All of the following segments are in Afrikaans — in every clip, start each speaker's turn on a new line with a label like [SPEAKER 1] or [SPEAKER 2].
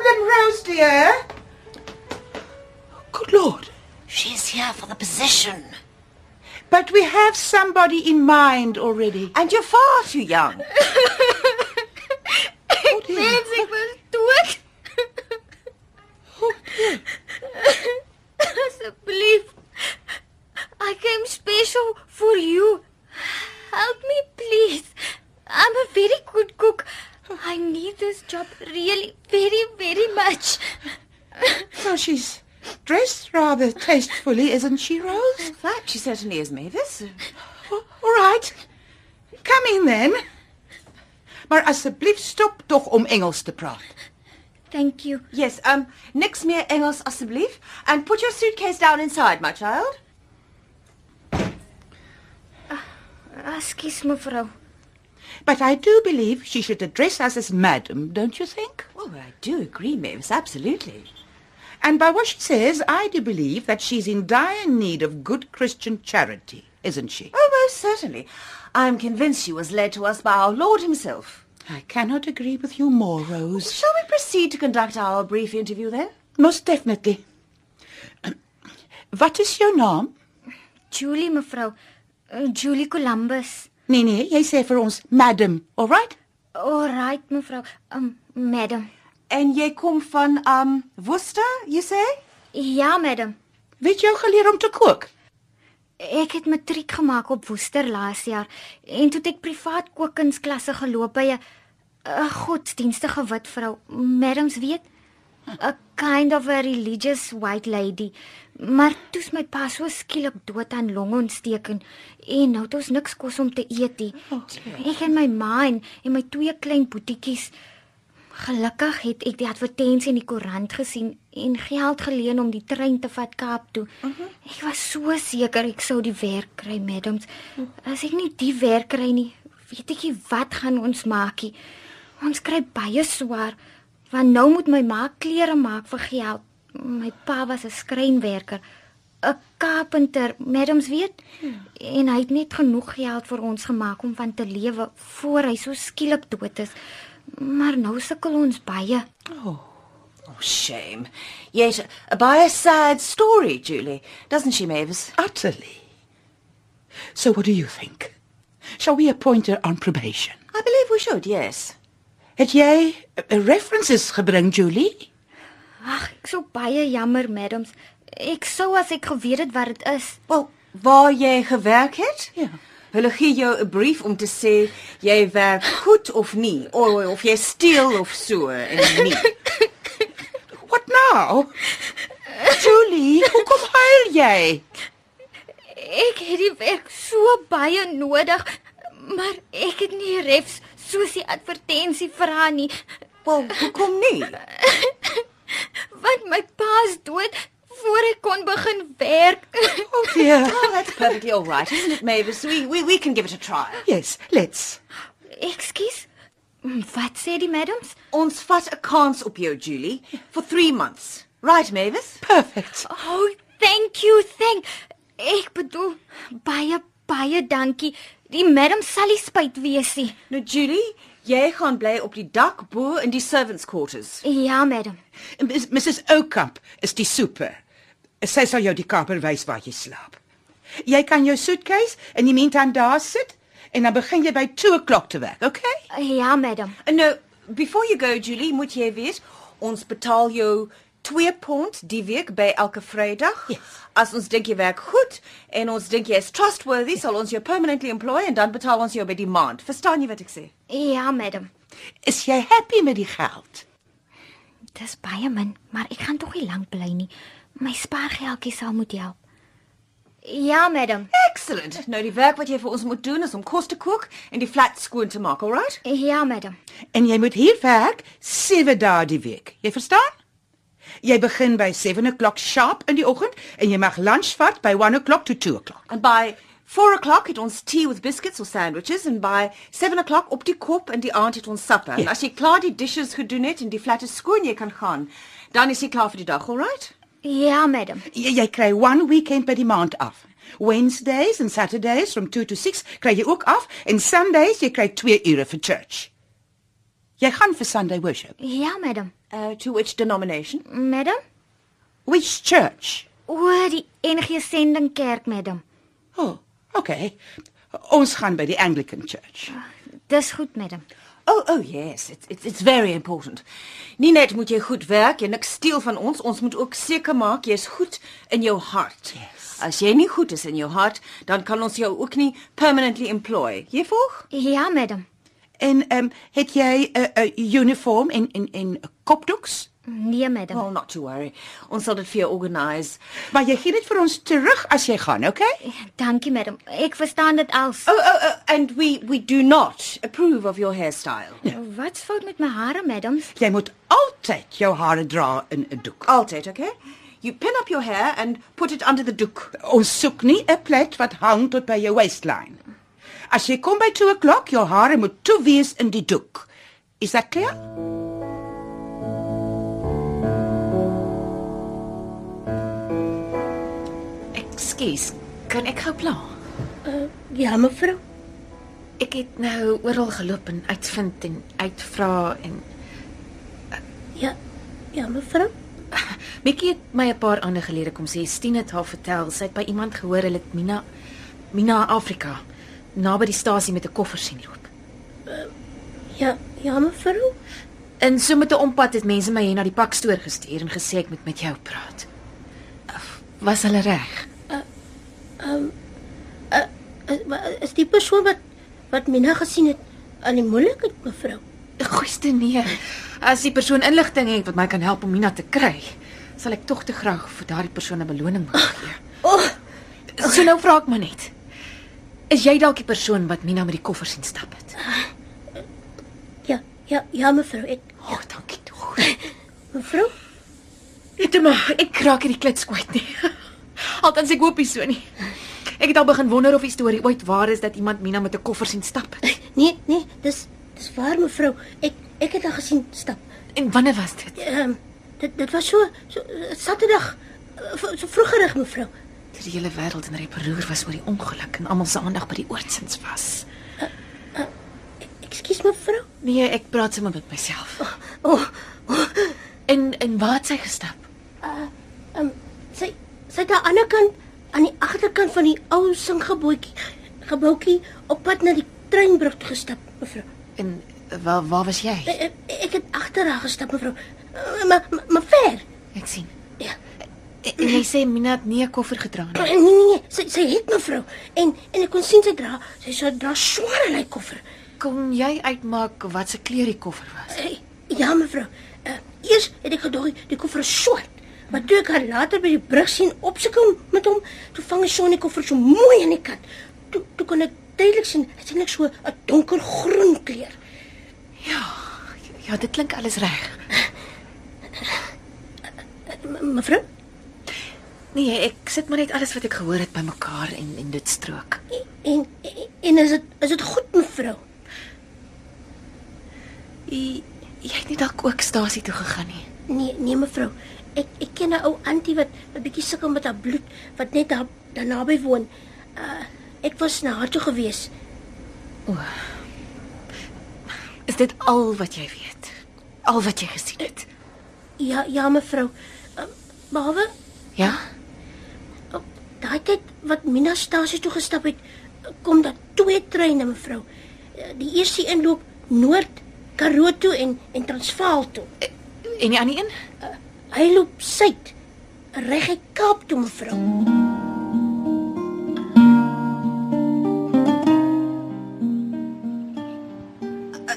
[SPEAKER 1] Rose, dear.
[SPEAKER 2] Good Lord.
[SPEAKER 3] She's here for the position.
[SPEAKER 1] But we have somebody in mind already.
[SPEAKER 3] And you're far too young.
[SPEAKER 4] Ek mens ek wil dood. Asseblief. I came special for you. Help me please. I'm a very good cook. I need this job really very very much.
[SPEAKER 1] So she's dressed rather tastefully, isn't she, Rose?
[SPEAKER 3] That she certainly is, Mavis.
[SPEAKER 1] O- All right. Come in then. Maar asseblief stop tog om Engels te praat.
[SPEAKER 4] Thank you.
[SPEAKER 3] Yes, um, niks meer Engels asseblief. And put your suitcase down inside, my child.
[SPEAKER 4] Ekskuus mevrou.
[SPEAKER 1] But I do believe she should address us as madam, don't you think?
[SPEAKER 3] Oh, I do agree, Mavis, absolutely.
[SPEAKER 1] And by what she says, I do believe that she's in dire need of good Christian charity, isn't she?
[SPEAKER 3] Oh, most certainly. I'm convinced she was led to us by our Lord himself.
[SPEAKER 1] I cannot agree with you more, Rose.
[SPEAKER 3] Shall we proceed to conduct our brief interview then?
[SPEAKER 1] Most definitely. Wat is jou naam?
[SPEAKER 4] Julie mevrou. Uh, Julie Columbus.
[SPEAKER 1] Nee nee, jy sê vir ons madam, all right?
[SPEAKER 4] Alright mevrou. Um madam.
[SPEAKER 3] En jy kom van um Worcester, you say?
[SPEAKER 4] Ja madam.
[SPEAKER 1] Weet jy hoe geleer om te kook?
[SPEAKER 4] Ek het matriek gemaak op Woester laas jaar en toe het ek privaat kookkunsklasse geloop by 'n 'n godsdienstige wit vrou, madams weet, 'n kind of a religious white lady. Maar toe's my pa so skielik dood aan longontsteking en nou het ons niks kos om te eet nie. Ek en my ma en, en my twee klein boetiekies. Gelukkig het ek die advertensie in die koerant gesien en geld geleen om die trein te vat Kaap toe. Uh -huh. Ek was so seker ek sou die werk kry, madams. As ek nie die werk kry nie, weet ek nie wat gaan ons maak nie. Ons kry baie swaar want nou moet my ma klere maak vir geld. My pa was 'n skrynwerker, 'n carpenter, madams weet, en hy het net genoeg geld vir ons gemaak om van te lewe voor hy so skielik dood is. Maar nou sukkel ons baie.
[SPEAKER 3] Oh, shame. Yet a, by a sad story, Julie, doesn't she, Mavis?
[SPEAKER 1] Utterly. So what do you think? Shall we appoint her on probation?
[SPEAKER 3] I believe we should, yes.
[SPEAKER 1] Het jy eh, references gebring, Julie?
[SPEAKER 4] Ag, ek sou baie jammer, madams. Ek sou as ek geweet het wat dit is.
[SPEAKER 3] Wel, waar jy gewerk het?
[SPEAKER 1] Ja.
[SPEAKER 3] Hulle gee jou 'n brief om te sê jy werk goed of nie, of, of jy steel of so en nie.
[SPEAKER 1] What now? nou? Julie, hoekom huil jy?
[SPEAKER 4] Ek het die werk so baie nodig, maar ek het nie refs soos die advertensie vra nie,
[SPEAKER 3] Wel, hoekom nie?
[SPEAKER 4] want my pa is dood voor ek kon begin werk.
[SPEAKER 1] Oh dear.
[SPEAKER 3] Oh, that's perfectly all right, isn't it, Mavis? We we, we can give it a try.
[SPEAKER 1] Yes, let's.
[SPEAKER 4] Ekskuus. Wat sê die madams?
[SPEAKER 3] Ons vat 'n kans op jou, Julie, for 3 months. Right, Mavis?
[SPEAKER 1] Perfect.
[SPEAKER 4] Oh, thank you, thank. Ek bedoel baie baie dankie. Die madam sal nie spyt wees nie.
[SPEAKER 3] Nou Julie, jy gaan bly op die dak bo in die servants quarters.
[SPEAKER 4] Ja, madam.
[SPEAKER 1] Mis- Mrs Oukamp is die super. Sy sal jou die kamer wys waar jy slaap. Jy kan jou suitcase in die meantime daar sit en dan begin jy by 2 o'clock te werk, okay?
[SPEAKER 4] Ja, madam.
[SPEAKER 3] En nou, before you go, Julie, moet jy weet, ons betaal jou 2 pond die week by elke Vrydag.
[SPEAKER 1] Yes.
[SPEAKER 3] As ons dink jy werk goed en ons dink jy is trustworthy, sal ons jou permanently employ en dan betaal ons jou by die maand. Verstaan jy wat ek sê?
[SPEAKER 4] Ja, madam.
[SPEAKER 1] Is jy happy met die geld?
[SPEAKER 4] Dis baie min, maar ek gaan tog nie lank bly nie. My spaargeldjie sal moet help. Ja, madam.
[SPEAKER 3] Excellent. Nou die werk wat jy vir ons moet doen is om kos te kook en die flat skoon te maak, all right?
[SPEAKER 4] Ja, madam.
[SPEAKER 1] En jy moet hier werk 7 dae die week. Jy verstaan? Jy begin by 7 o'clock sharp in die oggend en jy mag lunch vat by 1 o'clock to 2 o'clock.
[SPEAKER 3] And by 4 o'clock het ons tea with biscuits or sandwiches and by 7 o'clock op die kop en die aand het ons supper. En
[SPEAKER 1] Ja.
[SPEAKER 3] as jy klaar die dishes gedoen het en die flat is skoon, jy kan gaan. Dan is jy klaar vir die dag, all right?
[SPEAKER 4] Ja, madam.
[SPEAKER 1] Jy, jy kry one weekend by die maand af. Wednesdays and Saturdays from 2 to 6 kry jy ook af en Sundays jy kry 2 ure vir church. Jy gaan vir Sunday worship.
[SPEAKER 4] Ja, madam.
[SPEAKER 3] Uh, to which denomination?
[SPEAKER 4] Madam?
[SPEAKER 1] Which church?
[SPEAKER 4] O, die NG Sending Kerk, madam.
[SPEAKER 1] Oh, okay. Ons gaan by die Anglican Church.
[SPEAKER 4] Dis goed, madam.
[SPEAKER 3] Oh, oh yes, it's it's it's very important. Nie net moet jy goed werk en niks steel van ons, ons moet ook seker maak jy's goed in jou hart. Yes. As jy nie goed is in jou hart, dan kan ons jou ook nie permanently employ. Jy volg?
[SPEAKER 4] Ja, madam.
[SPEAKER 1] En ehm um, het jy 'n uh, uh, uniform en en en kopdoeks?
[SPEAKER 4] Nee, madam.
[SPEAKER 3] Well, not to worry. Ons sal dit vir jou organise.
[SPEAKER 1] Maar jy gee dit vir ons terug as jy gaan, okay?
[SPEAKER 4] Dankie, madam. Ek verstaan dit als.
[SPEAKER 3] Oh, oh, oh, and we we do not approve of your hairstyle.
[SPEAKER 4] Wat's fout met my hare, madam?
[SPEAKER 1] Jy moet altyd jou hare dra in 'n doek.
[SPEAKER 3] Altyd, okay? You pin up your hair and put it under the doek.
[SPEAKER 1] Ons soek nie 'n plek wat hang tot by jou waistline. As jy kom by 2 o'clock, jou hare moet toe wees in die doek. Is that clear?
[SPEAKER 2] Ekskuus, kan ek gou pla?
[SPEAKER 5] Ja, mevrou.
[SPEAKER 2] Ek het nou oral geloop en uitvind en uitvra en
[SPEAKER 5] Ja. Ja, mevrou.
[SPEAKER 2] Mikkie het my 'n paar ander gelede kom sê Stine het haar vertel sy het by iemand gehoor hulle het Mina Mina Afrika naby die stasie met 'n koffer sien loop.
[SPEAKER 5] Ja, ja, mevrou.
[SPEAKER 2] En so met 'n ompad het mense my hier na die pakstoor gestuur en gesê ek moet met jou praat. Was hulle reg?
[SPEAKER 5] Is, wa- is die persoon wat wat Mina gesien het aan die moeilikheid, mevrou?
[SPEAKER 2] Goeiste nee. As die persoon inligting het wat my kan help om Mina te kry, sal ek tog te graag vir daardie persoon 'n beloning wil gee.
[SPEAKER 5] Oh,
[SPEAKER 2] So nou vra ek maar net. Is jy dalk die persoon wat Mina met die koffer sien stap het?
[SPEAKER 5] ja, ja, ja, mevrou. Ek
[SPEAKER 2] O, oh, dankie tog.
[SPEAKER 5] mevrou,
[SPEAKER 2] Net maar, ek kraak hierdie klits kwyt nie. Althans ek hoop nie so nie. Ek het al begin wonder of die storie ooit waar is dat iemand Mina met 'n koffer sien stap. het.
[SPEAKER 5] nee, nee, dis dis waar mevrou. Ek ek het haar gesien stap.
[SPEAKER 2] En wanneer was dit?
[SPEAKER 5] Ehm dit dit was so so Saterdag eh, v- so vroegerig mevrou.
[SPEAKER 2] Toe die hele wêreld in reperoer was oor die ongeluk en almal se aandag by die oortsins was.
[SPEAKER 5] Ekskuus mevrou.
[SPEAKER 2] Nee, ek praat sommer met myself.
[SPEAKER 5] O, oh,
[SPEAKER 2] En en waar het sy gestap?
[SPEAKER 5] ehm sy sy het aan die ander kant aan die agterkant van die ou singgebouetjie gebouetjie op pad na die treinbrug toe gestap mevrou.
[SPEAKER 2] En waar waar was jy?
[SPEAKER 5] Ek, ek- ek het agter haar gestap mevrou. Eh, Maar maar- maar ver.
[SPEAKER 2] Ek sien.
[SPEAKER 5] Ja.
[SPEAKER 2] En, en jy sê Mina het nie 'n koffer gedra nie.
[SPEAKER 5] Nee nee nee, sy sy het mevrou en en ek kon sien sy dra sy so dra sware lyk koffer.
[SPEAKER 2] Kon jy uitmaak wat se kleur die koffer was?
[SPEAKER 5] Eh, Ja, mevrou. Uh, eers het ek gedog die koffer is swart. Maar toe ek haar later by die brug sien opsoekom met hom, toe vang ek son die koffer so mooi aan die kant. Toe toe kon ek duidelik sien dit is net so 'n donkergroen kleur.
[SPEAKER 2] Ja, dit klink alles reg.
[SPEAKER 5] M- Mevrou,
[SPEAKER 2] Nee, ek sit maar net alles wat ek gehoor het bymekaar en en dit strook.
[SPEAKER 5] en en- en is dit is dit goed mevrou?
[SPEAKER 2] Jy jy het nie dalk ook stasie toe gegaan nie.
[SPEAKER 5] Nee, nee mevrou. Ek ek ken 'n ou antie wat 'n bietjie sukkel met haar bloed wat net daar daar naby woon. Uh, ek was na haar toe gewees.
[SPEAKER 2] Is dit al wat jy weet? Al wat jy gesien het?
[SPEAKER 5] Ja, ja mevrou. Uh, behalwe
[SPEAKER 2] Ja?
[SPEAKER 5] Op daai tyd wat Mina stasie toe gestap het, kom daar twee treine mevrou. Uh, Die eerste een loop noord Karoo toe en en Transvaal toe.
[SPEAKER 2] En die ander een?
[SPEAKER 5] Hy loop suid reguit Kaap toe mevrou.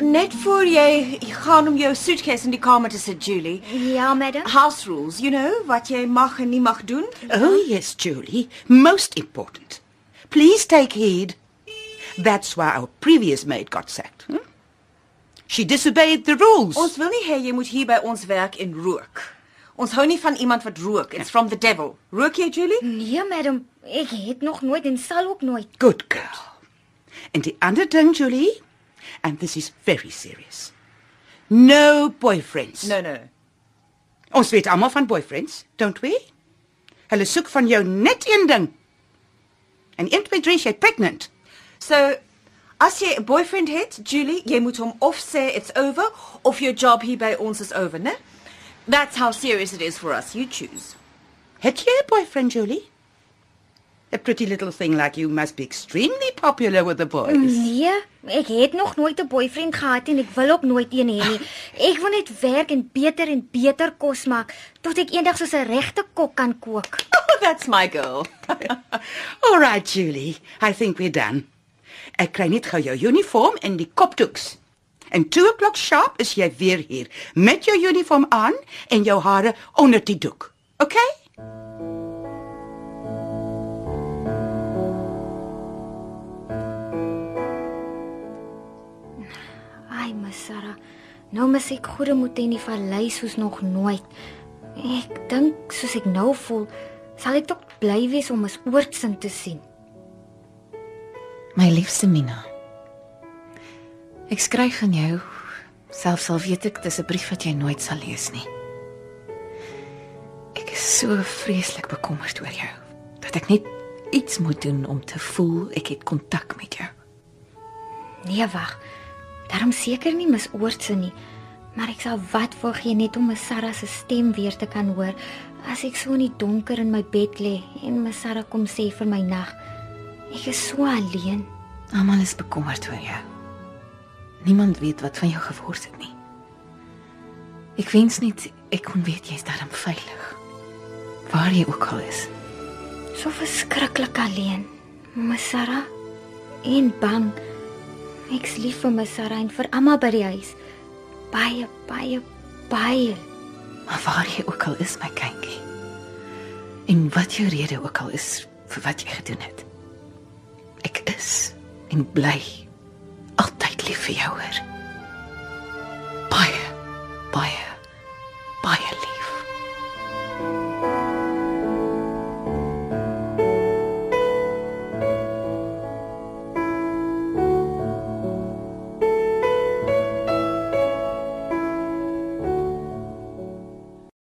[SPEAKER 3] Net voor jy gaan om jou suitcase in die kamer te sit, Julie.
[SPEAKER 4] Ja, madam.
[SPEAKER 3] House rules, you know, wat jy mag en nie mag doen.
[SPEAKER 1] Oh, yes, Julie. Most important. Please take heed. That's why our previous maid got sacked. Hmm? She disobeyed the rules.
[SPEAKER 3] Ons wil nie hê jy moet hier by ons werk en rook. Ons hou nie van iemand wat rook. It's from the devil. Rook jy, Julie?
[SPEAKER 4] Nee, madam. Ek het nog nooit en sal ook nooit.
[SPEAKER 1] Good girl. And the other thing, Julie, and this is very serious. No boyfriends.
[SPEAKER 3] No, no.
[SPEAKER 1] Ons weet almal van boyfriends, don't we? Hulle soek van jou net een ding. En 1 2 3 jy pregnant.
[SPEAKER 3] So As jy 'n boyfriend het, Julie, jy moet hom of sê it's over of your job hier by ons is over, né? That's how serious it is for us. You choose.
[SPEAKER 1] Het jy 'n boyfriend, Julie? A pretty little thing like you must be extremely popular with the boys.
[SPEAKER 4] Nee, ek het nog nooit 'n boyfriend gehad en ek wil ook nooit een hê nie. Ek wil net werk en beter en beter kos maak tot ek eendag soos 'n regte kok kan kook.
[SPEAKER 3] Oh, that's my girl.
[SPEAKER 1] All right, Julie. I think we're done. Ek kry net gou jou uniform en die kopdoeks. En 2 o'clock sharp is jy weer hier met jou uniform aan en jou hare onder die doek. Okay?
[SPEAKER 4] Ai, my Sarah. Nou mis ek goeie moed in die vallei soos nog nooit. Ek dink soos ek nou voel, sal ek tog bly wees om 'n oortsin te sien.
[SPEAKER 2] My liefste Mina. Ek skryf aan jou, selfs al weet ek dis 'n brief wat jy nooit sal lees nie. Ek is so vreeslik bekommerd oor jou dat ek net iets moet doen om te voel ek het kontak met jou.
[SPEAKER 4] Nee, wag. Daarom seker nie mis oortsin nie, maar ek sal wat wil gee net om my Sarah se stem weer te kan hoor as ek so in die donker in my bed lê en my Sarah kom sê vir my nag. Ek is so alleen.
[SPEAKER 2] Almal is bekommerd oor jou. Niemand weet wat van jou geword het nie. Ek wens net ek kon weet jy's daarom veilig. Waar jy ook al is.
[SPEAKER 4] So verskriklik alleen. My Sarah en bang. Ek's lief vir my Sarah en vir Amma by die huis. Baie, baie, baie.
[SPEAKER 2] Maar waar jy ook al is, my kindjie. En wat jou rede ook al is vir wat jy gedoen het. Ek is en bly altyd lief vir jou hoor. Baie, baie